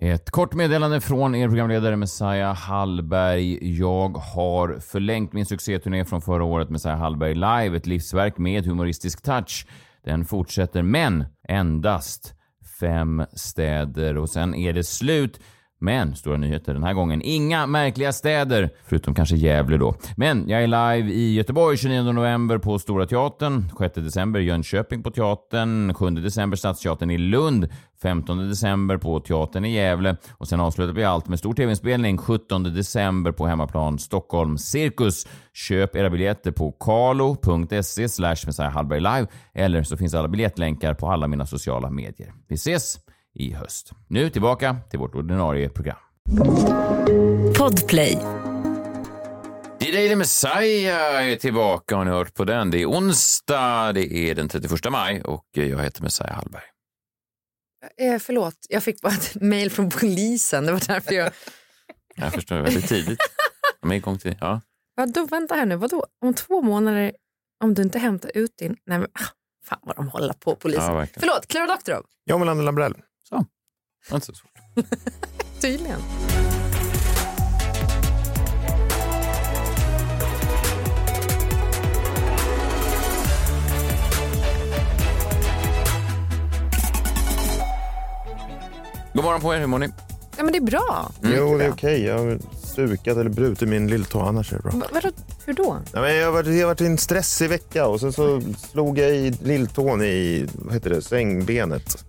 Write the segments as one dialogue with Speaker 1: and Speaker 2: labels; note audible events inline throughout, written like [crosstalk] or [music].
Speaker 1: Ett kort meddelande från er programledare Messiah Hallberg. Jag har förlängt min succéturné från förra året, Messiah Hallberg Live, ett livsverk med humoristisk touch. Den fortsätter, men endast fem städer och sen är det slut. Men stora nyheter den här gången. Inga märkliga städer, förutom kanske Gävle då. Men jag är live i Göteborg 29 november på Stora Teatern, 6 december Jönköping på Teatern, 7 december Stadsteatern i Lund, 15 december på Teatern i Gävle och sen avslutar vi allt med stor tv-inspelning 17 december på hemmaplan Stockholm Cirkus. Köp era biljetter på kalo.se slash Hallberg live eller så finns alla biljettlänkar på alla mina sociala medier. Vi ses! i höst. Nu tillbaka till vårt ordinarie program.
Speaker 2: Podplay.
Speaker 1: The Daily Messiah är tillbaka. Har ni hört på den? Det är onsdag, det är den 31 maj och jag heter Messiah Hallberg.
Speaker 3: Eh, förlåt, jag fick bara ett [laughs] mejl från polisen. Det var därför jag...
Speaker 1: Jag förstår, väldigt tidigt. De är igång till, ja.
Speaker 3: Vadå, vänta här nu, vadå? Om två månader, om du inte hämtar ut din... Nej, men, ah, fan vad de håller på, polisen.
Speaker 1: Ja, verkligen.
Speaker 3: förlåt, Klara Doktorow.
Speaker 4: Jag Melander Lambrell.
Speaker 1: Det var inte så svårt.
Speaker 3: Tydligen.
Speaker 1: God morgon på er, hur mår ni?
Speaker 3: Ja, men det är bra.
Speaker 1: Mm.
Speaker 4: Jo, det är okej. Jag har stukat eller brutit min lilltå, annars är det bra.
Speaker 1: Mm.
Speaker 3: Va- vadå, hur då?
Speaker 4: Nej, men jag, har varit, jag har varit i en stressig vecka och sen så slog jag i lilltån i vad heter det, sängbenet.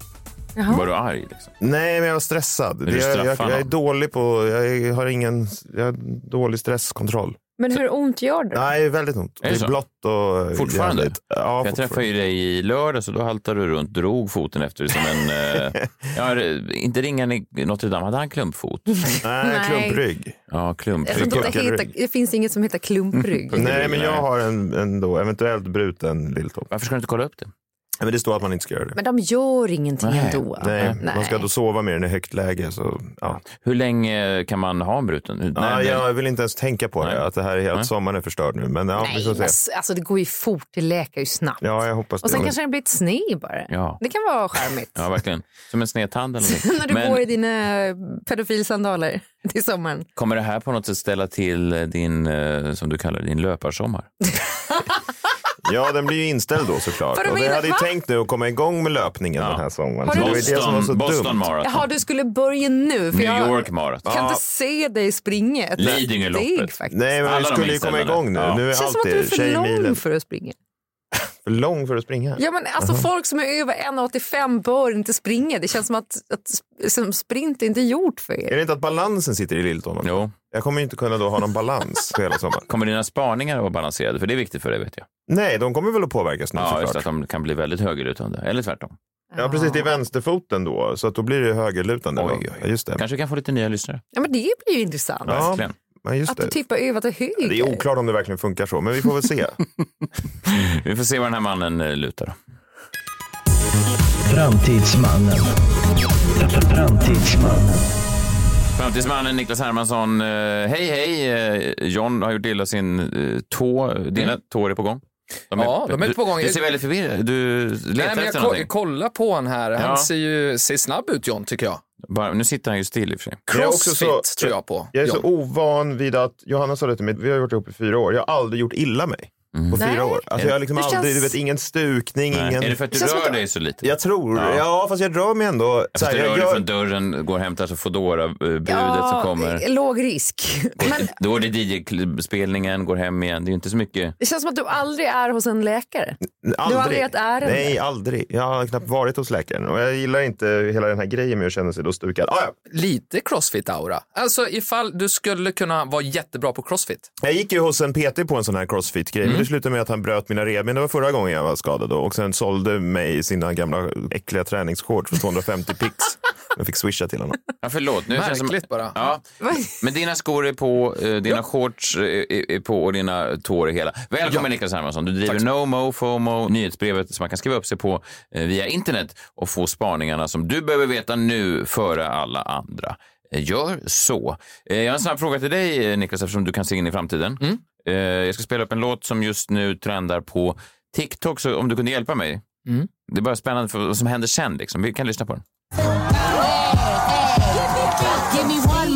Speaker 3: Jaha.
Speaker 1: Var du arg? Liksom?
Speaker 4: Nej, men jag var stressad.
Speaker 1: du
Speaker 4: jag, jag,
Speaker 1: straffar
Speaker 4: jag är
Speaker 1: någon?
Speaker 4: dålig på... Jag har ingen... Jag har dålig stresskontroll.
Speaker 3: Men hur ont gör det?
Speaker 4: Nej, väldigt ont.
Speaker 1: Är
Speaker 4: Det
Speaker 1: det
Speaker 4: är,
Speaker 1: så?
Speaker 4: blått och...
Speaker 1: Fortfarande?
Speaker 4: jävligt. Ja,
Speaker 1: jag
Speaker 4: fortfarande.
Speaker 1: träffade ju dig i lördags och då haltade du runt, drog foten efter dig som en...
Speaker 4: [laughs]
Speaker 1: eh, ja, inte ringen i Notre Dame, hade han klumpfot?
Speaker 4: Nej,
Speaker 3: Nej.
Speaker 4: klumprygg.
Speaker 1: Ja,
Speaker 3: Jag
Speaker 1: klumpfot.
Speaker 3: tror
Speaker 4: Alltså-
Speaker 3: inte att det,
Speaker 4: Puckelrygg.
Speaker 3: heter, det finns inget som heter klumprygg.
Speaker 4: [laughs] Nej, men jag har en, en då, eventuellt bruten lilltå.
Speaker 1: Varför ska du inte kolla upp det?
Speaker 4: Men det står att man inte ska göra det.
Speaker 3: Men de gör ingenting
Speaker 1: Nej,
Speaker 3: ändå.
Speaker 4: Nej,
Speaker 3: Nej.
Speaker 4: man ska då sova med den i högt läge. Så, ja.
Speaker 1: Hur länge kan man ha en bruten? Nej,
Speaker 4: ja,
Speaker 1: nej.
Speaker 4: jag vill inte ens tänka på
Speaker 1: Nej.
Speaker 4: det, att, det här är, att
Speaker 1: Nej.
Speaker 4: sommaren är förstörd nu. Men ja, vi
Speaker 3: Nej,
Speaker 4: får
Speaker 3: men,
Speaker 4: se.
Speaker 3: s- alltså, det går ju fort, det läker ju snabbt.
Speaker 4: Ja, jag hoppas
Speaker 3: Och sen
Speaker 4: det.
Speaker 3: kanske den blir ett sne bara.
Speaker 1: Ja.
Speaker 3: Det kan vara charmigt.
Speaker 1: Ja, verkligen. Som en snedtand eller någonting.
Speaker 3: [laughs] När du
Speaker 1: Men
Speaker 3: går i dina pedofilsandaler till sommaren.
Speaker 1: kommer det här på något sätt ställa till din, eh, som du kallar det, din löparsommar?
Speaker 4: Ja, den blir ju inställd då såklart.
Speaker 3: Vadå,
Speaker 4: Och
Speaker 3: men-
Speaker 4: jag hade ju
Speaker 3: va?
Speaker 4: tänkt nu att komma igång med löpningen
Speaker 1: Ja.
Speaker 4: den här
Speaker 3: Har
Speaker 4: sommaren. Så
Speaker 3: du-
Speaker 4: det var ju det som var så
Speaker 1: Boston
Speaker 4: dumt.
Speaker 1: Marathon,
Speaker 3: Jaha, du skulle börja nu. För
Speaker 1: New
Speaker 3: jag
Speaker 1: York Marathon.
Speaker 3: kan inte se dig springa ett
Speaker 1: Lidingöloppet.
Speaker 3: steg faktiskt.
Speaker 4: Nej, men
Speaker 1: Alla
Speaker 4: vi
Speaker 1: de
Speaker 4: skulle ju
Speaker 1: inställda
Speaker 4: komma
Speaker 1: där.
Speaker 4: igång nu.
Speaker 1: Ja.
Speaker 4: Nu
Speaker 3: det
Speaker 4: är
Speaker 3: känns som att du är
Speaker 4: alltid
Speaker 3: för lång
Speaker 4: tjejmilen
Speaker 3: för att springa.
Speaker 4: för lång för att springa.
Speaker 3: Ja, men alltså, Folk som är över 1,85 bör inte springa. Det känns som att, att som sprint är inte gjort för
Speaker 4: Är
Speaker 3: er.
Speaker 4: det inte att balansen sitter i lilltån?
Speaker 1: Jo.
Speaker 4: Jag kommer ju inte kunna då ha någon balans för
Speaker 3: [laughs]
Speaker 4: hela sommaren.
Speaker 1: Kommer dina spaningar att vara balanserade? För det är viktigt för dig, vet jag.
Speaker 4: Nej, de kommer väl att påverkas nu
Speaker 1: Ja, just att
Speaker 4: såklart.
Speaker 1: de kan bli väldigt högerlutande. Eller tvärtom.
Speaker 4: Ja, precis. Det är vänsterfoten då, så att då blir det högerlutande.
Speaker 1: Oj,
Speaker 4: va?
Speaker 1: oj, oj.
Speaker 4: Ja, Just det.
Speaker 1: Kanske vi kan få lite nya lyssnare.
Speaker 3: Ja, men det blir ju intressant.
Speaker 4: Ja,
Speaker 1: Verkligen.
Speaker 4: Ja, just
Speaker 3: Att du typ
Speaker 4: det.
Speaker 3: tippar över till höger.
Speaker 4: Det är oklart om det verkligen funkar så, men vi får väl se.
Speaker 1: Vi får se vad den här mannen eh, lutar.
Speaker 5: Framtidsmannen. Framtidsmannen.
Speaker 1: Framtidsmannen Niklas Hermansson. eh, Hej, hej! Eh, John har gjort illa sin eh, tå. Dina tår är på gång. De
Speaker 6: Ja, de är
Speaker 1: du,
Speaker 6: på gång.
Speaker 1: Du ser väldigt förvirrad Du letar
Speaker 6: Nej, men jag
Speaker 1: efter
Speaker 6: ko-
Speaker 1: någonting.
Speaker 6: kollar på honom här. Han
Speaker 1: Ja.
Speaker 6: ser ju ser snabb ut, John, tycker jag.
Speaker 1: Bara, nu sitter han ju still i och för sig.
Speaker 4: Jag är också
Speaker 6: Crossfit
Speaker 4: så-
Speaker 6: tror jag på.
Speaker 4: Jag är
Speaker 6: John.
Speaker 4: så ovan vid att, Johanna sa det till mig, vi har varit ihop i fyra år, jag har aldrig gjort illa mig
Speaker 1: Mm.
Speaker 4: på
Speaker 3: Nej.
Speaker 4: fyra år. Alltså jag har liksom
Speaker 3: Det
Speaker 4: aldrig,
Speaker 3: känns-
Speaker 4: du vet, ingen stukning,
Speaker 1: Nej.
Speaker 4: ingen...
Speaker 1: Eh, Är det för att du
Speaker 3: Känns som
Speaker 1: rör
Speaker 3: att-
Speaker 1: dig så lite?
Speaker 4: Jag tror,
Speaker 1: Ja.
Speaker 4: ja. fast jag rör mig ändå. Så
Speaker 1: Fast
Speaker 4: här,
Speaker 1: du rör
Speaker 4: jag
Speaker 1: dig
Speaker 4: gör-
Speaker 1: från dörren, går och hämtar så Foodora-brudet
Speaker 3: Ja,
Speaker 1: som kommer.
Speaker 3: Låg
Speaker 1: [laughs]
Speaker 3: risk. Men
Speaker 1: Då är det DJ-spelningen, går hem igen. Det är ju inte så mycket.
Speaker 3: det känns som att du aldrig är hos en läkare.
Speaker 4: aldrig.
Speaker 3: aldrig ett ärende?
Speaker 4: Nej, aldrig. Jag har knappt varit hos läkaren. Och jag gillar inte hela den här grejen med att känna sig då stukad. Ah, ja.
Speaker 6: Lite crossfit-aura. Alltså ifall du skulle kunna vara jättebra på crossfit.
Speaker 4: Jag gick ju hos en PT på en sån här crossfit-grej,
Speaker 1: Mm.
Speaker 4: men det slutade med att han bröt mina revben. Det var förra gången jag var skadad då. och sen sålde mig sina gamla äckliga träningsshorts för 250
Speaker 1: [laughs]
Speaker 4: pix. Jag fick swisha till honom.
Speaker 1: Ja, förlåt. Nu känns det
Speaker 6: Märkligt bara.
Speaker 1: Ja, men dina skor är på, eh, dina shorts eh, är, är på och dina tår är hela. Välkommen Niklas Hermansson. Du driver No Mo FOMO, nyhetsbrevet som man kan skriva upp sig på eh, via internet och få spaningarna som du behöver veta nu före alla andra. Eh, Gör så. Eh, Jag har en snabb fråga till dig eh, Niklas eftersom du kan se in i framtiden. Eh, Jag ska spela upp en låt som just nu trendar på TikTok, så om du kunde hjälpa mig. Det är bara spännande för vad som händer sen. Liksom. Vi kan lyssna på den.
Speaker 7: Give me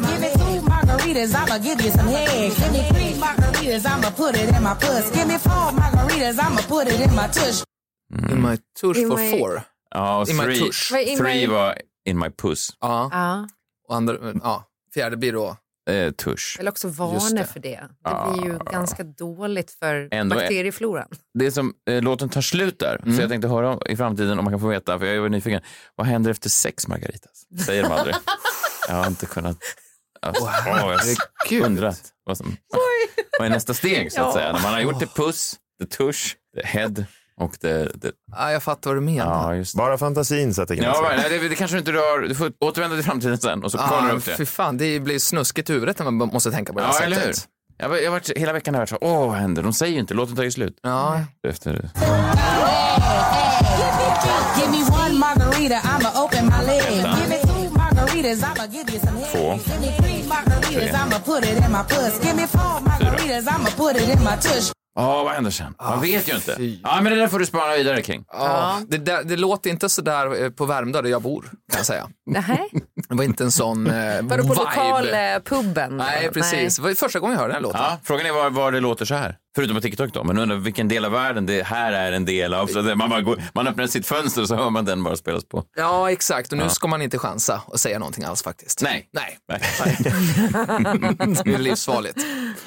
Speaker 2: margaritas, I'ma give you some head. Give me three margaritas, I'ma put it in my puss. Give me four margaritas, I'ma put it in my tush.
Speaker 6: In my tush
Speaker 3: In
Speaker 6: for
Speaker 3: my-
Speaker 6: four.
Speaker 1: Ja,
Speaker 6: In my
Speaker 1: three,
Speaker 6: tush.
Speaker 3: Vad är in
Speaker 1: three
Speaker 3: my-
Speaker 1: var in my puss.
Speaker 6: Ja,
Speaker 3: Ja.
Speaker 6: och andra, ja. Fjärde blir då...
Speaker 1: Eh, tush.
Speaker 3: Eller också
Speaker 6: Just det. Ah.
Speaker 3: varna för det. Det blir ju ganska dåligt för
Speaker 1: Ändå är-
Speaker 3: bakteriefloran.
Speaker 1: Det är som eh, låten tar slut där.
Speaker 6: Mm.
Speaker 1: Så jag tänkte höra om, i framtiden om man kan få veta, för jag är nyfiken. Vad händer efter sex margaritas? Säger de
Speaker 6: [laughs]
Speaker 1: aldrig. jag har inte kunnat... Alltså, wow, jag har undrat vad, som, vad är nästa steg så att
Speaker 3: Ja.
Speaker 1: säga. När man har gjort det puss, det tush, det head och det... det
Speaker 6: Ja, Ah, jag fattar vad du menar.
Speaker 1: ja, just det.
Speaker 4: Bara fantasin sätter
Speaker 1: Ja,
Speaker 4: gränser.
Speaker 1: va, nej, det, det kanske du inte rör. Du får återvända till framtiden sen och så kollar du
Speaker 6: Ja,
Speaker 1: upp det.
Speaker 6: Ah, fy fan, det blir snuskigt i huvudet när man b- måste tänka på det här
Speaker 1: Ja, eller hur?
Speaker 6: sättet.
Speaker 1: Jag, har- jag har varit, hela veckan har jag varit så åh vad händer? De säger ju inte, låten tar ju slut.
Speaker 6: Ja,
Speaker 1: Efter,
Speaker 2: Give me one margarita, I'ma open my leg. Give me two margaritas, I'ma give you some
Speaker 1: Four.
Speaker 2: head. Give me three margaritas, I'ma put it in my puss. Give me four margaritas, I'ma put it in my tush.
Speaker 1: ja vad händer sen? Man vet ju inte.
Speaker 6: fy.
Speaker 1: Ja, men det där får du spana vidare kring.
Speaker 6: ja. Det, där, det låter inte så där eh, på Värmdö där jag bor, kan jag säga. [laughs]
Speaker 3: Nej.
Speaker 6: Det var inte en sån eh,
Speaker 3: [laughs] Var du på eh?
Speaker 6: vibe.
Speaker 3: lokalpuben?
Speaker 6: Nej, precis. Det var ju första gången jag hörde den här låten.
Speaker 1: Ja, frågan är var, var det låter så här. Förutom på TikTok då, men undrar vilken del av världen det här är en del av. Så att man, bara går, man öppnar sitt fönster och så hör man den bara spelas på.
Speaker 6: Ja, exakt. Och nu ska man inte chansa och säga någonting alls faktiskt.
Speaker 1: Nej.
Speaker 6: Nej,
Speaker 1: Nej.
Speaker 6: det är livsfarligt.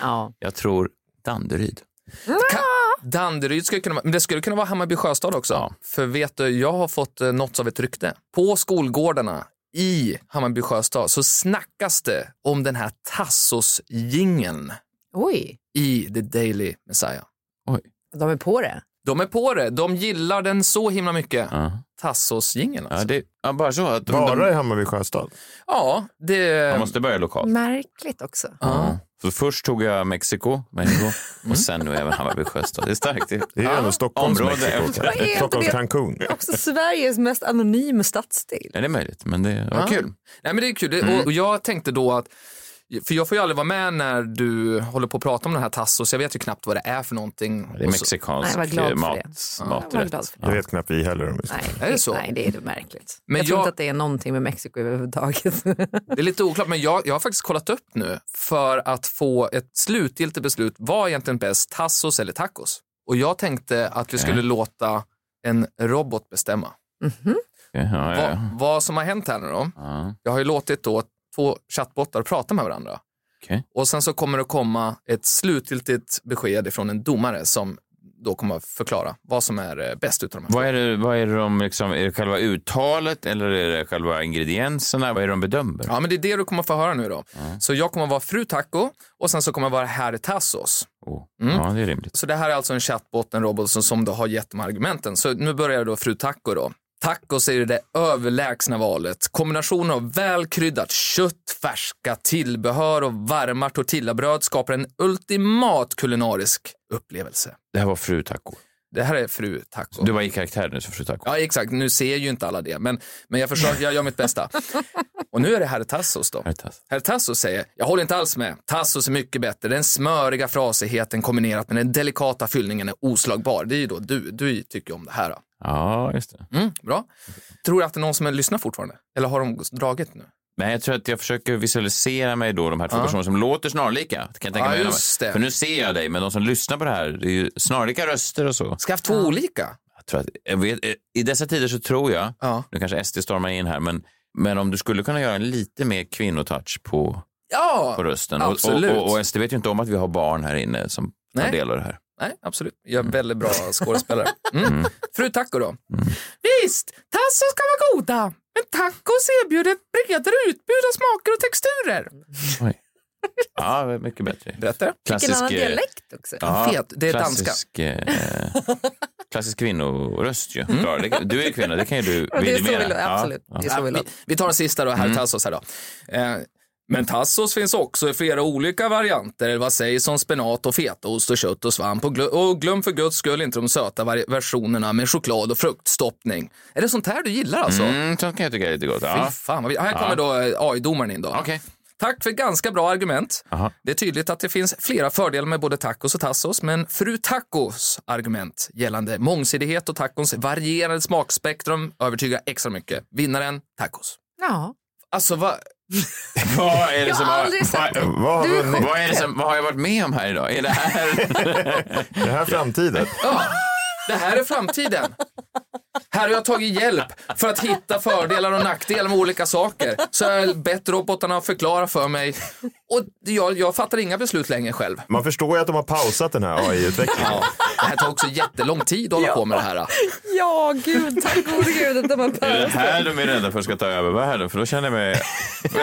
Speaker 3: Ja.
Speaker 1: Jag tror Danderyd.
Speaker 6: Ka- Danderyd skulle kunna vara, men det skulle kunna vara Hammarby Sjöstad också. För vet du, jag har fått eh, något av ett rykte. På skolgårdarna i Hammarby Sjöstad så snackas det om den här tassos jingeln
Speaker 3: Oj,
Speaker 6: i The Daily Messiah.
Speaker 3: de är på det.
Speaker 6: De är på det. De gillar den så himla mycket.
Speaker 1: Ja.
Speaker 6: tassos jingeln
Speaker 1: Ja,
Speaker 6: alltså.
Speaker 1: det, ja, bara så. Att de,
Speaker 4: Bara
Speaker 1: de,
Speaker 4: i Hammarby sjöstad.
Speaker 6: Ja, det...
Speaker 1: man måste börja lokalt.
Speaker 3: Märkligt också.
Speaker 1: Ja. Så först tog jag Mexiko, Mexiko och sen nu även Hammarby Sjöstad. Det är starkt. Det-
Speaker 4: Det är ju ändå Stockholms
Speaker 1: område
Speaker 4: Mexiko.
Speaker 1: efter.
Speaker 4: kanske.
Speaker 3: Vad är det?
Speaker 4: Stockholms Cancun.
Speaker 3: Också Sveriges mest anonyma stadsdel.
Speaker 1: Ja, det är möjligt, men det var
Speaker 6: Ja.
Speaker 1: kul. Mm.
Speaker 6: Nej, men det är kul. Det- Och, och jag tänkte då att, för jag får ju aldrig vara med när du håller på att prata om den här tassos. Jag vet ju knappt vad det är för någonting.
Speaker 1: Det är
Speaker 6: Och så-
Speaker 1: mexikansk
Speaker 3: Nej, jag var glad för
Speaker 1: mat,
Speaker 3: det. Jag var
Speaker 1: maträtt.
Speaker 3: glad för det.
Speaker 4: Det vet knappt vi heller. Om vi ska.
Speaker 3: Nej,
Speaker 6: Är det så?
Speaker 3: Nej, det är märkligt.
Speaker 6: Men
Speaker 3: jag tror
Speaker 6: jag-
Speaker 3: inte att det är någonting med Mexiko
Speaker 6: [laughs]
Speaker 3: överhuvudtaget.
Speaker 6: Det är lite oklart, men jag, jag har faktiskt kollat upp nu för att få ett slutgiltigt beslut. Vad är egentligen bäst, tassos eller tacos? Och jag tänkte att vi skulle låta en robot bestämma.
Speaker 1: Ja, ja,
Speaker 6: Vad, vad som har hänt här nu då?
Speaker 1: ja.
Speaker 6: Jag har ju låtit då två chattbottar prata med varandra.
Speaker 1: Okej.
Speaker 6: Och sen så kommer det komma ett slutgiltigt besked från en domare som då kommer att förklara vad som är eh, bäst utav de här.
Speaker 1: Vad är det, vad är det de liksom, är det själva uttalet eller är det själva ingredienserna? Vad är det de bedömer?
Speaker 6: Ja, men det är det du kommer få höra nu då. Så jag kommer vara fru taco och sen så kommer jag vara herr tassos.
Speaker 1: Oh. Ja, det är rimligt.
Speaker 6: Så det här är alltså en chatbot, en robot som, som då har gett de här argumenten. Så nu börjar då fru taco då. Tacos är det överlägsna valet. Kombinationen av välkryddat kött, färska tillbehör och varma tortillabröd skapar en ultimat kulinarisk upplevelse.
Speaker 1: Det här var fru taco.
Speaker 6: Det här är fru taco.
Speaker 1: Du var i karaktär nu, så fru taco.
Speaker 6: Ja, exakt. Nu ser ju inte alla det, men, men jag försöker, jag gör mitt bästa. Och nu är det herr Tassos då.
Speaker 1: Här tas.
Speaker 6: Herr Tassos säger, jag håller inte alls med. Tassos är mycket bättre. Den smöriga frasigheten kombinerat med den delikata fyllningen är oslagbar. Det är ju då du, du tycker ju om det här. Då.
Speaker 1: Ja, just det.
Speaker 6: Mm, bra. Tror du att det är någon som lyssnar fortfarande? Eller har de dragit nu?
Speaker 1: Nej, jag tror att jag försöker visualisera mig då, de här två
Speaker 6: Ja.
Speaker 1: personerna som låter snarlika. Kan jag tänka
Speaker 6: Ja,
Speaker 1: mig.
Speaker 6: just det.
Speaker 1: För nu ser jag dig, men de som lyssnar på det här, det är ju snarlika röster och så.
Speaker 6: Ska jag haft två olika?
Speaker 1: Jag tror att, jag vet, eh, I dessa tider så tror jag,
Speaker 6: Ja.
Speaker 1: nu kanske SD stormar in här, men, men om du skulle kunna göra en lite mer kvinnotouch på,
Speaker 6: Ja!
Speaker 1: på rösten. Och,
Speaker 6: absolut.
Speaker 1: och, och, och SD vet ju inte om att vi har barn här inne som tar
Speaker 6: Nej.
Speaker 1: del av det här.
Speaker 6: Nej, absolut. Jag är väldigt bra skådespelare. Mm. Fru Taco då. Visst, tassos ska vara goda, men tacos erbjuder ett bredare utbud av smaker och texturer.
Speaker 1: Oj. [laughs] Ja, mycket bättre.
Speaker 6: Berätta.
Speaker 3: Vilken annan
Speaker 1: eh,
Speaker 3: dialekt också.
Speaker 1: ja,
Speaker 6: Fet. Det är
Speaker 1: klassisk, eh, klassisk kvinnoröst ju. Klara, det kan- Du är ju kvinna, det kan ju du
Speaker 3: Mm. Ja, det är så vi
Speaker 1: vidimera.
Speaker 3: låter,
Speaker 1: Ja,
Speaker 3: absolut.
Speaker 1: ja.
Speaker 3: Det är så vi
Speaker 6: Äh, vi,
Speaker 3: låter.
Speaker 6: vi tar den sista då, herr
Speaker 1: Mm.
Speaker 6: Tassos här då. Eh, men tassos finns också i flera olika varianter. Eller vad sägs om spenat och fetaost och kött och svamp? Och, glö- och glöm för guds skull inte de söta vari- versionerna med choklad och fruktstoppning. Är det sånt här du gillar alltså?
Speaker 1: Mm, sånt kan jag tycka är lite gott. Ja.
Speaker 6: Fy fan, vad vi... Här kommer då eh, AI-domaren in då.
Speaker 1: Okej.
Speaker 6: Tack för ganska bra argument.
Speaker 1: Aha.
Speaker 6: Det är tydligt att det finns flera fördelar med både tacos och tassos, men fru tacos argument gällande mångsidighet och tacons varierande smakspektrum övertygar extra mycket. Vinnaren, tacos.
Speaker 3: Ja.
Speaker 6: Alltså, vad...
Speaker 1: Vad är det
Speaker 3: Jag
Speaker 1: som
Speaker 3: har
Speaker 1: har...
Speaker 3: aldrig sett-
Speaker 1: vad-
Speaker 4: Vad
Speaker 3: Du är
Speaker 4: har vunnit?
Speaker 3: sjuk.
Speaker 1: Vad, är det som, vad har jag varit med om här idag? Är det här...
Speaker 4: Är det här framtiden?
Speaker 6: Ja, det här är framtiden. Här har jag tagit hjälp för att hitta fördelar och nackdelar med olika saker. Så jag har bett robotarna förklara för mig. Och jag, jag fattar inga beslut längre själv.
Speaker 4: Man förstår ju att de har pausat den här AI-utvecklingen.
Speaker 6: Ja, det här tar också jättelång tid att hålla på med det här.
Speaker 3: Ja, gud, tack gode gud att de har
Speaker 1: Är det
Speaker 3: paus.
Speaker 1: här de är rädda för ska ta över världen? För då känner jag mig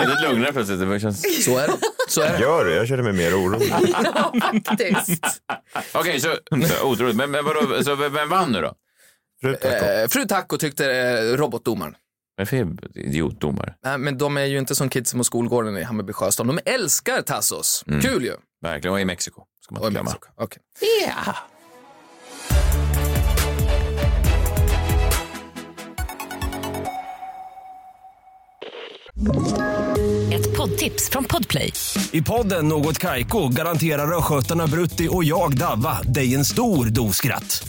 Speaker 1: väldigt lugnare plötsligt. Det känns...
Speaker 6: Så är det. Så är det.
Speaker 4: Gör det, jag känner mig mer orolig.
Speaker 3: [laughs] Ja, faktiskt.
Speaker 6: [laughs]
Speaker 1: Okej, så, [laughs] så otroligt. Men, men vadå, så vem vem vann nu då?
Speaker 4: Fru Taco.
Speaker 6: Eh, Fru Taco tyckte eh, robotdomaren.
Speaker 1: Varför är idiotdomare?
Speaker 6: Nej, men de är ju inte som kidsen på skolgården i Hammarby Sjöstad. De älskar Tassos. Kul ju.
Speaker 1: Verkligen, och i Mexiko. Ska man
Speaker 6: Oj,
Speaker 1: inte
Speaker 6: men,
Speaker 1: glömma.
Speaker 6: så- okej.
Speaker 5: Ett poddtips från Podplay.
Speaker 7: I podden Något Kaiko garanterar östgötarna Brutti och jag, Davva, dig en stor dos skratt.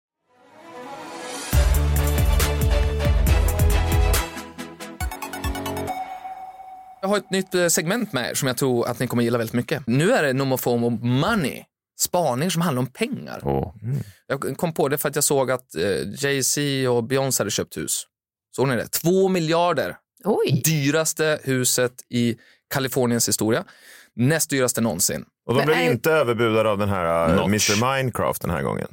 Speaker 6: Jag har ett nytt eh, segment med er som jag tror att ni kommer gilla väldigt mycket. Nu är det Nomofomo Money. Spaning som handlar om pengar.
Speaker 1: Åh.
Speaker 6: Jag kom på det för att jag såg att eh, Jay-Z och Beyoncé hade köpt hus. Såg ni det? Två miljarder.
Speaker 3: Oj.
Speaker 6: Dyraste huset i Kaliforniens historia. Näst dyraste någonsin.
Speaker 4: Och de
Speaker 3: Men
Speaker 4: blev
Speaker 3: är-
Speaker 4: inte överbudade av den här eh,
Speaker 1: Notch.
Speaker 4: Mr Minecraft den här gången.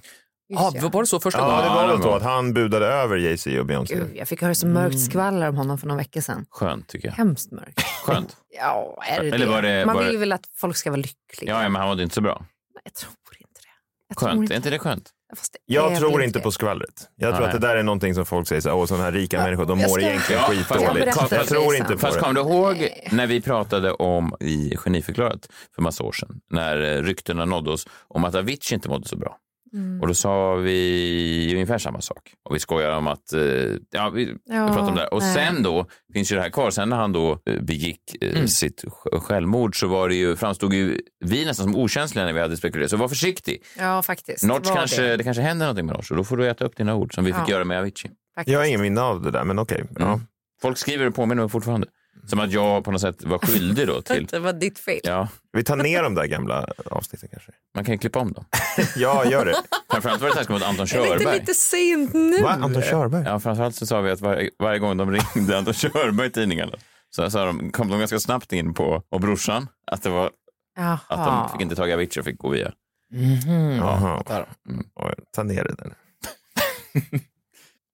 Speaker 6: Ja, var det så första
Speaker 4: Ja, det
Speaker 6: gången?
Speaker 4: var väl
Speaker 1: det
Speaker 4: så
Speaker 1: var-
Speaker 4: att han budade över Jay-Z och Beyoncé.
Speaker 3: Gud, jag fick höra så mörkt skvaller om honom för några veckor sedan.
Speaker 1: Skönt tycker jag.
Speaker 3: Hemskt mörkt.
Speaker 1: Skönt.
Speaker 3: Ja, är det
Speaker 1: Eller var det-
Speaker 3: Man
Speaker 1: var
Speaker 3: vill ju
Speaker 1: det-
Speaker 3: väl att folk ska vara lyckliga.
Speaker 1: Ja, ja, men han mådde inte så bra.
Speaker 3: Nej, Jag tror inte det. Jag tror
Speaker 1: Skönt.
Speaker 3: inte
Speaker 1: Är inte det skönt?
Speaker 3: Fast det är
Speaker 4: Jag
Speaker 3: väl
Speaker 4: tror inte på skvallret. Jag tror
Speaker 1: Nej.
Speaker 4: att det där är någonting som folk säger så här, åh sådana här rika människor, de
Speaker 3: jag
Speaker 4: mår
Speaker 3: ska-
Speaker 4: egentligen
Speaker 1: Ja, fast-
Speaker 4: skitdåligt.
Speaker 1: berätta
Speaker 4: Jag
Speaker 1: för
Speaker 4: tror
Speaker 3: mig
Speaker 4: inte
Speaker 3: sen.
Speaker 4: på
Speaker 1: Fast
Speaker 4: det.
Speaker 1: kom du ihåg
Speaker 3: Nej.
Speaker 1: när vi pratade om i Geniförklarat för massa år sedan, när eh, ryktena nådde oss om att Avicii inte mådde så bra.
Speaker 3: Mm.
Speaker 1: Och då sa vi ungefär samma sak. Och vi skojade om att, eh, ja, vi
Speaker 3: Ja,
Speaker 1: pratade om det. här. Och
Speaker 3: nej.
Speaker 1: sen då, finns ju det här kvar, sen när han då eh, begick eh,
Speaker 3: Mm.
Speaker 1: sitt sj- självmord så var det ju, framstod ju vi nästan som okänsliga när vi hade spekulerat. Så var försiktig.
Speaker 3: Ja, faktiskt.
Speaker 1: Norts
Speaker 3: Var
Speaker 1: kanske, det.
Speaker 3: det,
Speaker 1: kanske händer någonting med Norts och då får du äta upp dina ord som vi fick
Speaker 3: Ja.
Speaker 1: göra med Avicii.
Speaker 3: faktiskt.
Speaker 4: Jag har ingen minne av det där, men okej. Ja.
Speaker 1: Folk skriver och påminner mig fortfarande. Som att jag på något sätt var skyldig då
Speaker 3: [laughs]
Speaker 1: till...
Speaker 3: Det var ditt fel.
Speaker 1: Ja,
Speaker 4: Vi tar ner de där gamla avsnitten kanske.
Speaker 1: man kan ju klippa om dem.
Speaker 4: Ja, gör det.
Speaker 1: Framförallt var det taskigt mot Anton
Speaker 3: Är [laughs] det inte
Speaker 1: Körberg.
Speaker 3: lite sent nu?
Speaker 4: Va? Anton Körberg?
Speaker 1: Ja, framförallt så sa vi att varje, varje gång de ringde Anton Körberg i tidningarna så sa de, kom de ganska snabbt in på, och brorsan, att, det var,
Speaker 3: Jaha.
Speaker 1: att de fick inte tag i Avicii och fick gå via.
Speaker 4: Jaha. Oj, Ta ner det där.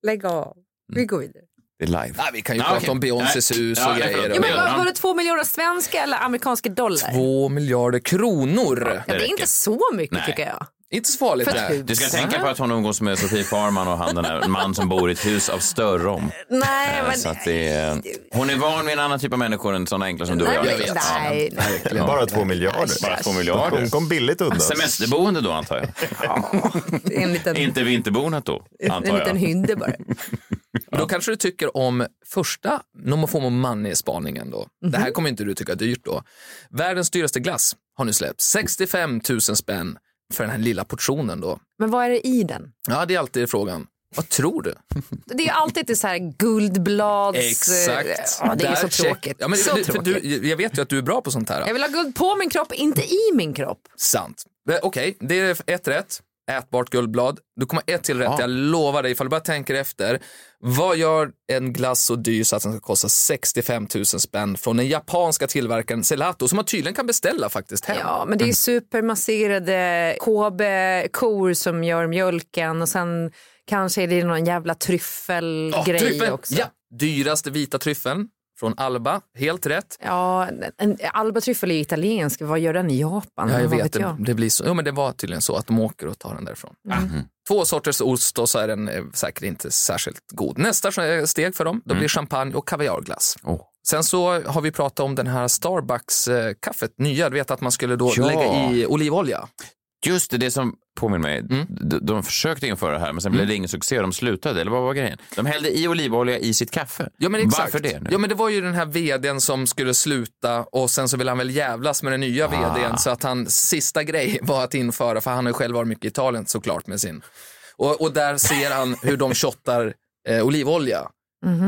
Speaker 3: Lägg av.
Speaker 1: Mm.
Speaker 3: Vi går vidare.
Speaker 1: Det är live.
Speaker 6: Nej, vi kan ju
Speaker 1: Ja,
Speaker 6: prata
Speaker 1: okej.
Speaker 6: om Beyoncés
Speaker 1: Nej.
Speaker 6: hus
Speaker 1: Ja,
Speaker 6: och
Speaker 1: nej,
Speaker 6: grejer.
Speaker 1: förlåt.
Speaker 3: Ja, men
Speaker 1: Ja.
Speaker 3: var, var det två miljoner svenska eller amerikanska dollar?
Speaker 6: Två miljarder kronor.
Speaker 3: Ja, det är inte så mycket
Speaker 1: Nej.
Speaker 3: tycker jag.
Speaker 6: Inte så farligt.
Speaker 3: För-
Speaker 6: det här.
Speaker 1: Du ska tänka på att hon umgås med Sofie Farman och han den där man som bor i ett hus av störrom.
Speaker 3: Nej, men...
Speaker 1: Så att det är, hon är van vid en annan typ av människor än sådana enkla som du och jag.
Speaker 3: Nej,
Speaker 6: vet.
Speaker 3: nej, nej.
Speaker 4: Bara två miljarder.
Speaker 1: Bara två
Speaker 4: Hon
Speaker 1: miljarder. Alltså,
Speaker 4: kom billigt undan.
Speaker 1: Semesterboende då antar jag.
Speaker 3: Det är en
Speaker 1: [laughs] [laughs]
Speaker 3: liten,
Speaker 1: Inte vinterbonat då antar
Speaker 3: en
Speaker 1: jag.
Speaker 3: liten hynde bara.
Speaker 6: Men då kanske du tycker om första Nomofomo Money-spaningen då. Det
Speaker 3: Mhm.
Speaker 6: här kommer inte du tycka är dyrt då. Världens dyraste glass har nu släppts. 65 000 spänn för den här lilla portionen då.
Speaker 3: Men vad är det i den?
Speaker 6: Ja, det är alltid frågan. Vad tror du?
Speaker 3: Det är ju alltid till så här guldblads... eh,
Speaker 6: Exakt.
Speaker 3: Ja, det är
Speaker 6: Där
Speaker 3: ju så
Speaker 6: check-
Speaker 3: tråkigt.
Speaker 6: Ja, men,
Speaker 3: så
Speaker 6: du, för
Speaker 3: tråkigt.
Speaker 6: du, jag vet ju att du är bra på sånt här.
Speaker 3: Jag vill ha guld på min kropp, inte i min kropp.
Speaker 6: Sant. Eh, Okej, det är ett rätt. Ätbart guldblad. Du kommer ha ett till rätt, jag lovar dig. Ifall du bara tänker efter. Vad gör en glass så dyr så att den ska kosta 65 000 spänn från den japanska tillverkaren Gelato som man tydligen kan beställa faktiskt hem.
Speaker 3: Ja, men det är ju supermasserade KB-kor som gör mjölken och sen kanske är det någon jävla
Speaker 6: Ja,
Speaker 3: tryffelgrej
Speaker 6: tryffeln.
Speaker 3: också.
Speaker 6: Ja, dyraste vita tryffeln från Alba. Helt rätt.
Speaker 3: Ja, en, en, Alba tryffel är ju italiensk, vad gör den i Japan?
Speaker 6: Ja, jag
Speaker 3: Vad
Speaker 6: vet, det,
Speaker 3: jag?
Speaker 6: det blir så. Jo, men det var tydligen så att de åker och tar den därifrån. Två sorters ost och så är den eh, säkert inte särskilt god. Nästa eh, steg för dem, då blir champagne och kaviarglass.
Speaker 1: Åh.
Speaker 6: Sen så har vi pratat om den här eh, Starbucks-kaffet, nya. Du vet att man skulle då
Speaker 1: Ja.
Speaker 6: lägga i olivolja.
Speaker 1: Just det, det som påminner mig,
Speaker 6: Mm.
Speaker 1: de, de försökte införa det här men sen blev det ingen succé och de slutade, eller vad var grejen? De hällde i olivolja i sitt kaffe.
Speaker 6: Ja, men exakt.
Speaker 1: Varför det? Nu?
Speaker 6: Ja, men det var ju den här vdn som skulle sluta och sen så ville han väl jävlas med den
Speaker 1: Ah.
Speaker 6: nya vdn så att han sista grej [laughs] var att införa, för han har ju själv varit mycket i Italien såklart med sin. Och, och där ser han hur de shottar eh, olivolja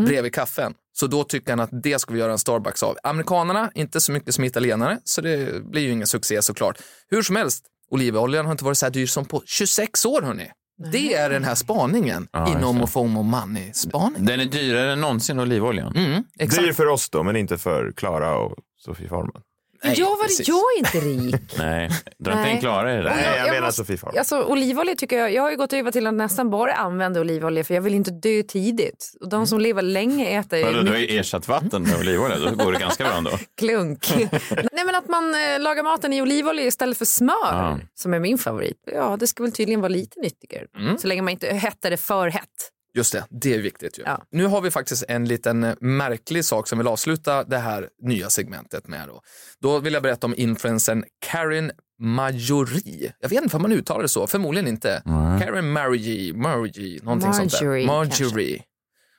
Speaker 6: bredvid kaffen. Så då tycker han att det ska vi göra en Starbucks av. Amerikanerna, inte så mycket som italienare, så det blir ju ingen succé såklart. Hur som helst, olivoljan har inte varit så här dyr som på 26 år hörni. Det är den här spaningen
Speaker 1: Ja, just
Speaker 6: inom
Speaker 1: det.
Speaker 6: och FOMO money-spaningen.
Speaker 1: Den är dyrare än någonsin, olivoljan.
Speaker 6: Mm, exakt.
Speaker 4: Dyr för oss då, men inte för Klara och Sofie Farman.
Speaker 3: Men
Speaker 6: Nej,
Speaker 3: jag, var,
Speaker 6: precis.
Speaker 3: jag är inte rik.
Speaker 1: Nej, dra inte
Speaker 3: Nej.
Speaker 1: in Klara i det där.
Speaker 4: Nej, jag,
Speaker 3: jag
Speaker 4: menar
Speaker 3: måste-
Speaker 4: Sofie Farman.
Speaker 3: Alltså, olivolja tycker jag, jag har ju gått över till att nästan bara använda olivolja för jag vill inte dö tidigt. Och de som lever länge äter
Speaker 1: Vadå, du
Speaker 3: mycket
Speaker 1: har ju ersatt vatten med olivolja, då går det ganska bra ändå.
Speaker 3: klunk. Nej men att man eh, lagar maten i olivolja istället för smör
Speaker 1: Ja.
Speaker 3: som är min favorit. Ja det ska väl tydligen vara lite nyttigare. Så länge man inte hettar det för hett.
Speaker 6: Just det, det är viktigt ju.
Speaker 3: Ja.
Speaker 6: Nu har vi faktiskt en liten eh, märklig sak som vill avsluta det här nya segmentet med. Då, då vill jag berätta om influensen Karin Majori. Jag vet inte om man uttalar det så, förmodligen inte. Karin Marjorie, Marjorie, någonting sånt där.
Speaker 3: Marjorie,
Speaker 6: Marjorie.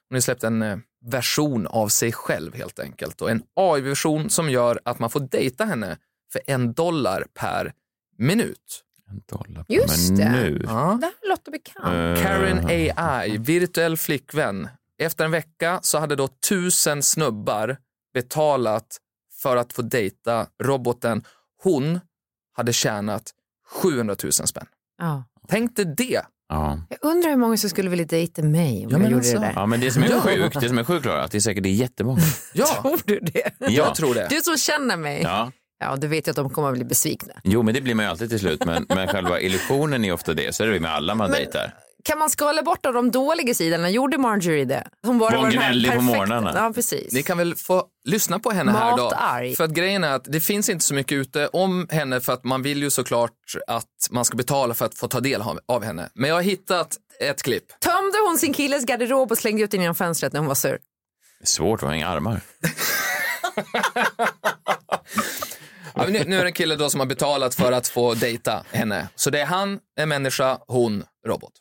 Speaker 6: Hon har släppt en eh, version av sig själv helt enkelt. Och en AI-version som gör att man får dejta henne för en dollar per minut.
Speaker 1: En dollar per
Speaker 3: Just det.
Speaker 1: minut.
Speaker 6: Ja.
Speaker 3: Det här låter bekant.
Speaker 1: Eh,
Speaker 6: Karen AI, virtuell flickvän. Efter en vecka så hade då tusen snubbar betalat för att få dejta roboten. Hon hade tjänat 700 000 spänn.
Speaker 3: Ja.
Speaker 6: Tänk dig det.
Speaker 1: Ja.
Speaker 3: Jag undrar hur många som skulle vilja dejta mig om
Speaker 6: Ja, men
Speaker 3: jag gjorde
Speaker 6: alltså,
Speaker 3: det där.
Speaker 1: ja, men det som är
Speaker 6: Ja.
Speaker 1: sjukt, det som är sjukt Klara, att det är säkert det är jättemånga.
Speaker 6: Ja,
Speaker 3: Tror du det?
Speaker 1: Ja.
Speaker 6: jag tror det.
Speaker 3: Du som känner mig. Ja.
Speaker 1: Ja,
Speaker 3: du vet ju att de kommer att bli besvikna.
Speaker 1: jo men det blir man ju alltid till slut, men, men själva illusionen är ofta det. Så är det ju med alla man dejtar.
Speaker 3: Kan man skala bort av de dåliga sidorna? Gjorde Marjorie det? Hon bara
Speaker 1: Var
Speaker 3: den här
Speaker 1: gnällig på
Speaker 3: perfekta-
Speaker 1: morgnarna.
Speaker 3: Ja, precis.
Speaker 6: Ni kan väl få lyssna på henne här idag.
Speaker 3: Matarg.
Speaker 6: För att grejen är att det finns inte så mycket ute om henne för att man vill ju såklart att man ska betala för att få ta del av- av henne. Men jag har hittat ett klipp.
Speaker 3: Tömde hon sin killes garderob och slängde ut den genom fönstret när hon var sur?
Speaker 1: Det är svårt att ha inga armar.
Speaker 6: Ja, men nu, nu är det en kille då som har betalat för att få dejta henne. Så det är han, en människa, hon, robot.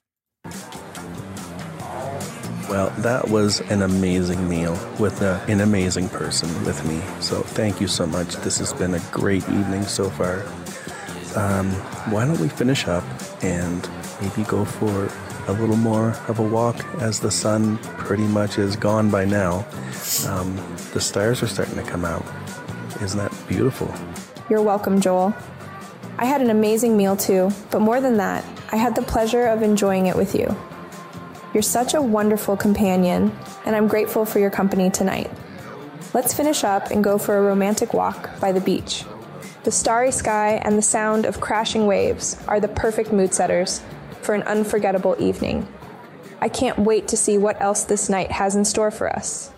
Speaker 8: Well, that was an amazing meal with a, an amazing person with me. So thank you so much. This has been a great evening so far. Um, why don't we finish up and maybe go for a little more of a walk as the sun pretty much is gone by now? Um, the stars are starting to come out. Isn't that beautiful?
Speaker 9: You're welcome, Joel. I had an amazing meal too, but more than that, I had the pleasure of enjoying it with you. You're such a wonderful companion, and I'm grateful for your company tonight. Let's finish up and go for a romantic walk by the beach. The starry sky and the sound of crashing waves are the perfect mood setters for an unforgettable evening. I can't wait to see what else this night has in store for us.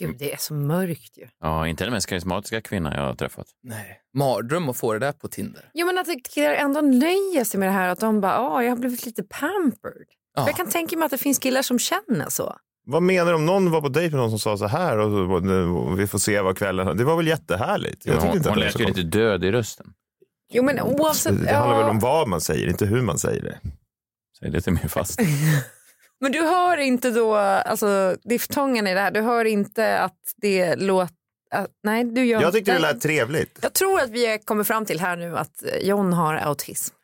Speaker 3: Gud, det är så mörkt ju.
Speaker 1: Ja, inte den mest karismatiska kvinna jag har träffat.
Speaker 6: Nej. Mardröm att få det där på Tinder.
Speaker 3: Jo, men att killar ändå nöjer sig med det här att de bara, ja, jag har blivit lite pampered.
Speaker 6: Ja.
Speaker 3: För Jag kan tänka mig att det finns killar som känner så.
Speaker 4: Vad menar du om någon var på dejt med någon som sa så här och, så- och vi får se vad kvällen... Det var väl jättehärligt? Jag tyckte
Speaker 1: hon
Speaker 4: inte att
Speaker 1: hon
Speaker 4: det var så
Speaker 1: lät ju
Speaker 4: konstigt.
Speaker 1: lite död i rösten.
Speaker 3: Jo, men oavsett.
Speaker 4: Mm, Det handlar väl
Speaker 3: ja.
Speaker 4: om vad man säger, inte hur man säger det.
Speaker 1: Säg det till min fast.
Speaker 3: Men du hör inte då, alltså diftongen i det här, du hör inte att det låter... Att, nej, du gör
Speaker 4: Jag tyckte det
Speaker 3: nej.
Speaker 4: lät trevligt.
Speaker 3: Jag tror att vi kommer fram till här nu att eh, John har autism.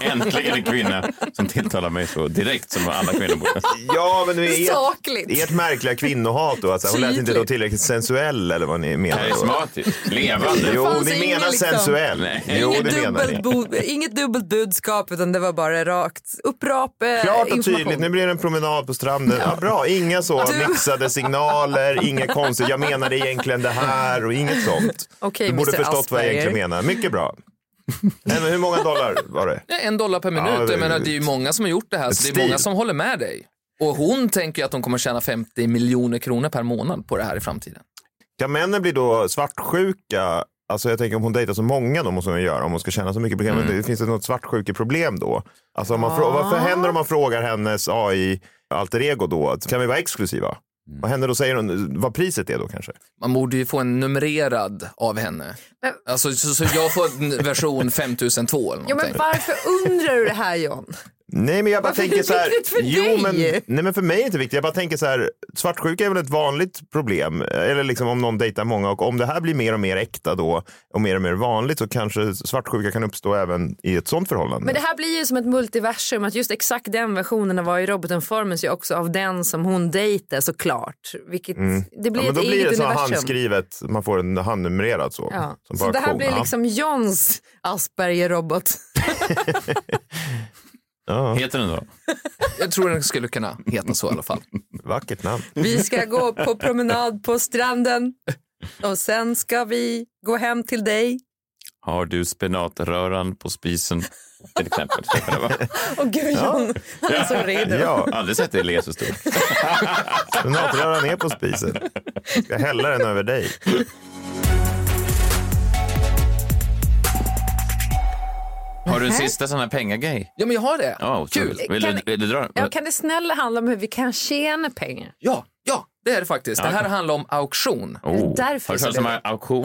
Speaker 1: Äntligen en kvinna som tilltalar mig så direkt som alla kvinnor borde.
Speaker 4: Ja, men nu är ert,
Speaker 3: Sakligt.
Speaker 4: ert märkliga kvinnohat då, att så här, hon lät inte då
Speaker 3: Tydligt.
Speaker 4: tillräckligt sensuell eller vad ni menar. Då.
Speaker 1: Karismatisk, levande.
Speaker 4: Jo,
Speaker 3: fanns
Speaker 4: ni
Speaker 3: ingen
Speaker 4: menar
Speaker 3: liksom-
Speaker 4: sensuell.
Speaker 1: Nej.
Speaker 4: Jo,
Speaker 3: inget,
Speaker 4: det menar ni.
Speaker 3: dubbelt bo, inget dubbelt budskap utan det var bara rakt upprap eh,
Speaker 4: Klart och
Speaker 3: information. Alltså,
Speaker 4: tydligt, nu blir det en promenad på stranden. Ja, bra, inga så mixade signaler, inget konstigt. Jag menade egentligen det här och inget sånt.
Speaker 3: Okej,
Speaker 4: du borde
Speaker 3: Mr.
Speaker 4: förstått vad jag
Speaker 3: Asperger.
Speaker 4: egentligen menar. Mycket bra. Nej, men hur många dollar var det?
Speaker 6: Nej, En dollar per minut.
Speaker 4: Ja, det-
Speaker 6: jag menar, det är ju många som har gjort det här, så det är
Speaker 4: stil.
Speaker 6: många som håller med dig. Och hon tänker ju att hon kommer tjäna 50 miljoner kronor per månad på det här i framtiden.
Speaker 4: Kan männen bli då svartsjuka? Alltså jag tänker om hon dejtar så många då måste hon ju göra om hon ska tjäna så mycket pengar. Men
Speaker 3: Mm.
Speaker 4: det Finns det något svartsjukeproblem då?
Speaker 3: Ah.
Speaker 4: Alltså om man frå- vad händer om man frågar hennes AI alter ego då? Kan vi vara exklusiva?
Speaker 3: Mm.
Speaker 4: Vad händer då? Säger hon vad priset är då kanske?
Speaker 6: Man borde ju få en numrerad av henne. Alltså, så, så jag får en version 5002 eller
Speaker 3: Ja, men
Speaker 6: någonting.
Speaker 3: varför undrar du det här John?
Speaker 4: Nej men jag bara
Speaker 3: Varför är
Speaker 4: tänker
Speaker 3: det
Speaker 4: så här.
Speaker 3: viktigt för
Speaker 4: jo,
Speaker 3: dig?
Speaker 4: men, nej men för mig är det inte viktigt. Jag bara tänker så här. Svartsjuka är väl ett vanligt problem. Eller liksom om någon dejtar många och om det här blir mer och mer äkta då och mer och mer vanligt så kanske svartsjuka kan uppstå även i ett sånt förhållande.
Speaker 3: Men det här blir ju som ett multiversum att just exakt den versionen av AI roboten formas ju också av den som hon dejtar såklart. Vilket,
Speaker 4: Mm.
Speaker 3: Det blir
Speaker 4: ja, men
Speaker 3: ett
Speaker 4: då blir
Speaker 3: eget
Speaker 4: det så här
Speaker 3: universum.
Speaker 4: handskrivet, man får en handnumrerad så.
Speaker 3: Ja.
Speaker 4: som på
Speaker 3: Så det här
Speaker 4: auktion.
Speaker 3: blir
Speaker 4: Ja.
Speaker 3: liksom Johns Asperger-robot.
Speaker 10: Heter den då?
Speaker 6: Jag tror den skulle kunna heta så i alla fall.
Speaker 3: [laughs]
Speaker 4: Vackert namn.
Speaker 3: Vi
Speaker 4: [laughs]
Speaker 3: ska gå på promenad på stranden och sen ska vi gå hem till dig.
Speaker 1: Har du spenatröran på spisen? Till exempel. Så kan det vara.
Speaker 3: Åh gud John, han är så redo.
Speaker 4: Ja.
Speaker 1: Aldrig sett dig le så stort.
Speaker 4: Spenatröran är på spisen. Jag häller den över dig.
Speaker 1: Har du en sista sån här pengagrej?
Speaker 6: Ja, men jag har det.
Speaker 1: Ja, otroligt.
Speaker 3: Kul.
Speaker 1: Vill,
Speaker 3: Kan-
Speaker 1: du, vill du dra den?
Speaker 3: Ja, kan det snälla handla om hur vi kan tjäna pengar?
Speaker 6: Ja, ja det är det faktiskt. Det
Speaker 1: Ja,
Speaker 6: här
Speaker 1: okej.
Speaker 6: handlar om auktion.
Speaker 1: Oh.
Speaker 3: Därför
Speaker 1: Har du
Speaker 3: så
Speaker 1: talat
Speaker 3: blev
Speaker 1: om auktion?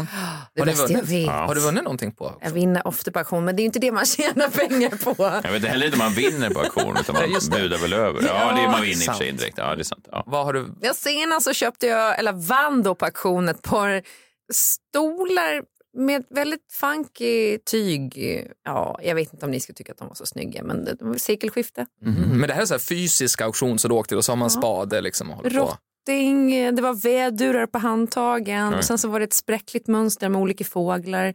Speaker 3: Det
Speaker 6: Har du
Speaker 3: bästa jag
Speaker 6: vunnit?
Speaker 3: vet.
Speaker 6: Har du vunnit någonting på?
Speaker 3: Jag vinner ofta på auktion, men det är ju inte det man [laughs] tjänar pengar på.
Speaker 1: Jag vet inte heller inte om man vinner på auktion utan
Speaker 3: [laughs]
Speaker 1: man budar väl över. Ja, det är man vinner i och för sig indirekt. Ja, det är sant. Ja.
Speaker 6: Vad har du?
Speaker 3: Ja, senast så köpte jag, eller vann då på auktion ett par stolar med väldigt funky tyg. Ja, jag vet inte om ni skulle tycka att de var så snygga, men det de var sekelskifte.
Speaker 6: Mhm. Men det här är så här fysisk auktion så du åkte och så har man spade liksom och håller på.
Speaker 3: Rotting, det var vädurar på handtagen
Speaker 1: Oj.
Speaker 3: och sen så var det ett spräckligt mönster med olika fåglar.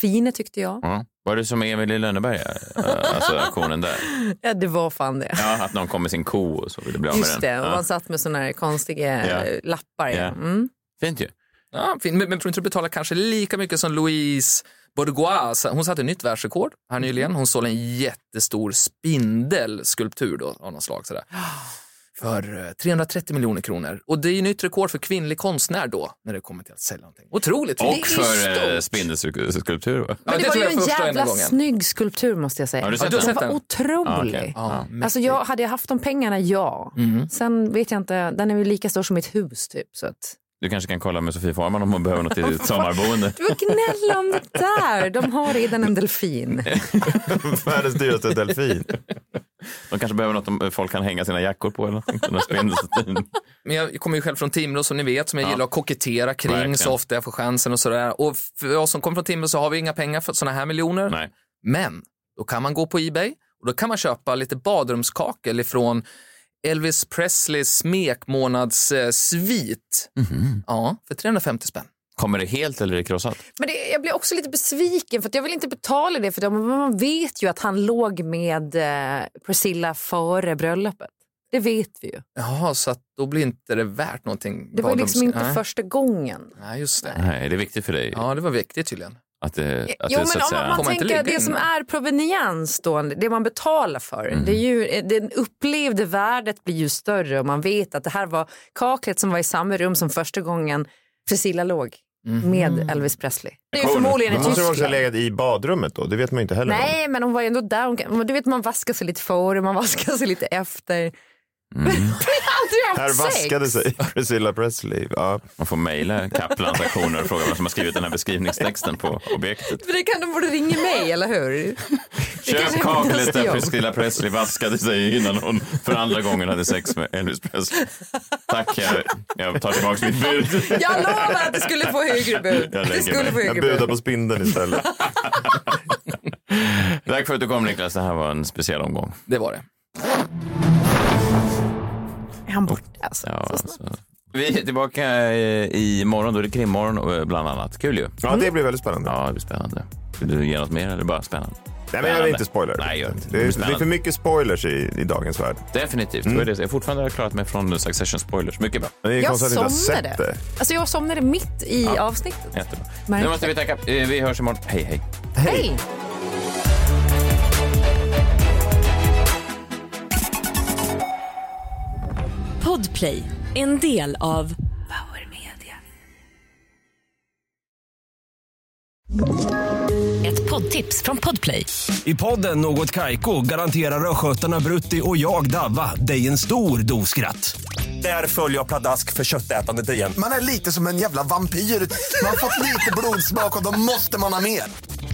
Speaker 3: Fina tyckte jag.
Speaker 1: Ja. Var det som Emil i Lönneberga, Eh, alltså auktionen där?
Speaker 3: Ja, det var fan det.
Speaker 1: Ja, att någon kom med sin ko och så ville bli av med
Speaker 3: Just det,
Speaker 1: den.
Speaker 3: och
Speaker 1: Ja.
Speaker 3: man satt med såna här konstiga
Speaker 1: Ja.
Speaker 3: eh, lappar. Ja.
Speaker 1: Ja.
Speaker 3: Mm.
Speaker 1: Fint ju.
Speaker 6: Ja, fint. Men, men tror du inte du betalar kanske lika mycket som Louise Bourgeois? Hon satte nytt världsrekord här
Speaker 3: Mhm.
Speaker 6: nyligen. Hon sålde en jättestor spindelskulptur då, av något
Speaker 3: [gasps]
Speaker 6: slag. Sådär. För eh, 330 miljoner kronor. Och det är ju nytt rekord för kvinnlig konstnär då, när det kommer till att sälja någonting. Otroligt fint.
Speaker 1: Och för eh, spindelskulptur. va?
Speaker 6: Ja,
Speaker 3: Men det,
Speaker 6: det
Speaker 3: var
Speaker 6: tror
Speaker 3: ju
Speaker 6: jag
Speaker 3: en
Speaker 6: första och enda
Speaker 3: jävla
Speaker 6: gången.
Speaker 3: snygg skulptur måste jag säga.
Speaker 1: Har du sett
Speaker 3: den?
Speaker 1: den?
Speaker 3: var
Speaker 6: Ja,
Speaker 3: otrolig.
Speaker 1: Ah, okej. Ja.
Speaker 3: Alltså jag, hade jag haft de pengarna, ja. Sen vet jag inte, den är väl lika stor som mitt hus typ. Så att...
Speaker 1: Du kanske kan kolla med Sofie Farman om hon behöver något i
Speaker 3: [laughs]
Speaker 1: ditt sommarboende.
Speaker 3: Du gnälla om det där, de har redan en delfin.
Speaker 4: Världens dyraste delfin.
Speaker 1: De kanske behöver något om folk kan hänga sina jackor på eller någonting. Den här spindeln.
Speaker 6: Men jag kommer ju själv från Timrå som ni vet, som jag
Speaker 1: Ja.
Speaker 6: gillar att kokettera kring
Speaker 1: Verkligen.
Speaker 6: så ofta jag får chansen och sådär. Och för oss som kommer från Timrå så har vi inga pengar för sådana här
Speaker 1: [laughs]
Speaker 6: miljoner.
Speaker 1: Nej.
Speaker 6: Men då kan man gå på Ebay och då kan man köpa lite badrumskakel ifrån Elvis Presleys smekmånadssvit.
Speaker 1: Mhm.
Speaker 6: Ja, för 350 spänn.
Speaker 1: Kommer det helt eller är det krossat?
Speaker 3: Men det, jag blir också lite besviken för att jag vill inte betala det för dem. Men man vet ju att han låg med eh, Priscilla före bröllopet. Det vet vi ju.
Speaker 6: Jaha, så att då blir inte det värt någonting.
Speaker 3: Det var ju
Speaker 6: badrums-
Speaker 3: liksom inte
Speaker 6: Nej.
Speaker 3: första gången.
Speaker 6: Nej, just det.
Speaker 1: Nej, det är viktigt för dig
Speaker 6: Ja, det var viktigt tydligen.
Speaker 1: att det, att
Speaker 3: Jo,
Speaker 1: det så att
Speaker 3: men om
Speaker 1: säga...
Speaker 3: man
Speaker 6: Får man inte
Speaker 3: tänker att
Speaker 6: ligga
Speaker 3: det som
Speaker 6: inne?
Speaker 3: är proveniens då, det man betalar för, det är ju, det upplevde värdet blir ju större och man vet att det här var kaklet som var i samma rum som första gången Priscilla låg med Elvis Presley. [laughs] Det är ju förmodligen i
Speaker 4: Då måste de också ha
Speaker 3: Tyskland.
Speaker 4: legat i badrummet då. Det vet man ju inte heller. om.
Speaker 3: Nej, men hon var ju ändå där. Hon, kan- du vet, man vaskar sig lite före, man vaskar sig lite efter. [laughs] Vi har
Speaker 4: Här
Speaker 3: aldrig haft sex.
Speaker 4: vaskade sig [laughs] Priscilla Presley. Ja.
Speaker 1: Man får mejla Kaplans auktioner och fråga vem som har skrivit den här beskrivningstexten på objektet.
Speaker 3: För det kan de borde ringa mig, eller hur? kanske är
Speaker 1: Köp
Speaker 3: hennes
Speaker 1: kaklet där
Speaker 3: jobb.
Speaker 1: Priscilla Presley vaskade sig innan hon för andra gången hade sex med Elvis Presley. Tack, jag, jag tar tillbaka mitt bud.
Speaker 3: Jag lovar att det skulle få högre bud.
Speaker 1: Jag
Speaker 3: Det
Speaker 1: lägger
Speaker 3: skulle
Speaker 1: mig.
Speaker 3: få
Speaker 4: Jag
Speaker 3: högre
Speaker 4: budar
Speaker 3: bud.
Speaker 4: på spindeln istället.
Speaker 1: Tack för att du kom Niklas, det här var en speciell omgång.
Speaker 6: Det var det.
Speaker 3: Är han borta alltså?
Speaker 1: Ja, alltså. Vi är tillbaka eh, imorgon, då är det krimmorgon eh, bland annat. Kul ju.
Speaker 4: Ja, det blir väldigt spännande.
Speaker 1: Ja, det blir spännande. Vill du ge något mer eller bara spännande?
Speaker 4: Nej, men jag vill inte spoila
Speaker 1: Nej, gör inte. Det
Speaker 4: Det är,
Speaker 1: blir
Speaker 4: det är för
Speaker 1: spännande.
Speaker 4: mycket spoilers i, i dagens värld.
Speaker 1: Definitivt. Mm. Jag har fortfarande klarat mig från Succession spoilers. Mycket bra.
Speaker 4: Det är
Speaker 3: Jag
Speaker 4: konstigt att inte ha sett
Speaker 3: somnade.
Speaker 4: det.
Speaker 3: Alltså jag somnade mitt i avsnittet.
Speaker 1: Jättebra.
Speaker 3: Märkte.
Speaker 1: Nu måste vi tacka. Eh, Vi hörs imorgon. Hej, hej.
Speaker 3: Hej!
Speaker 11: Podplay, en del av Power Media. Ett poddtips från Podplay.
Speaker 7: I podden Något Kaiko garanterar östgötarna Brutti och jag, Davva, dig en stor dos skratt. Där följer jag pladask för köttätandet igen.
Speaker 12: Man är lite som en jävla vampyr. Man har fått lite blodsmak och då måste man ha mer.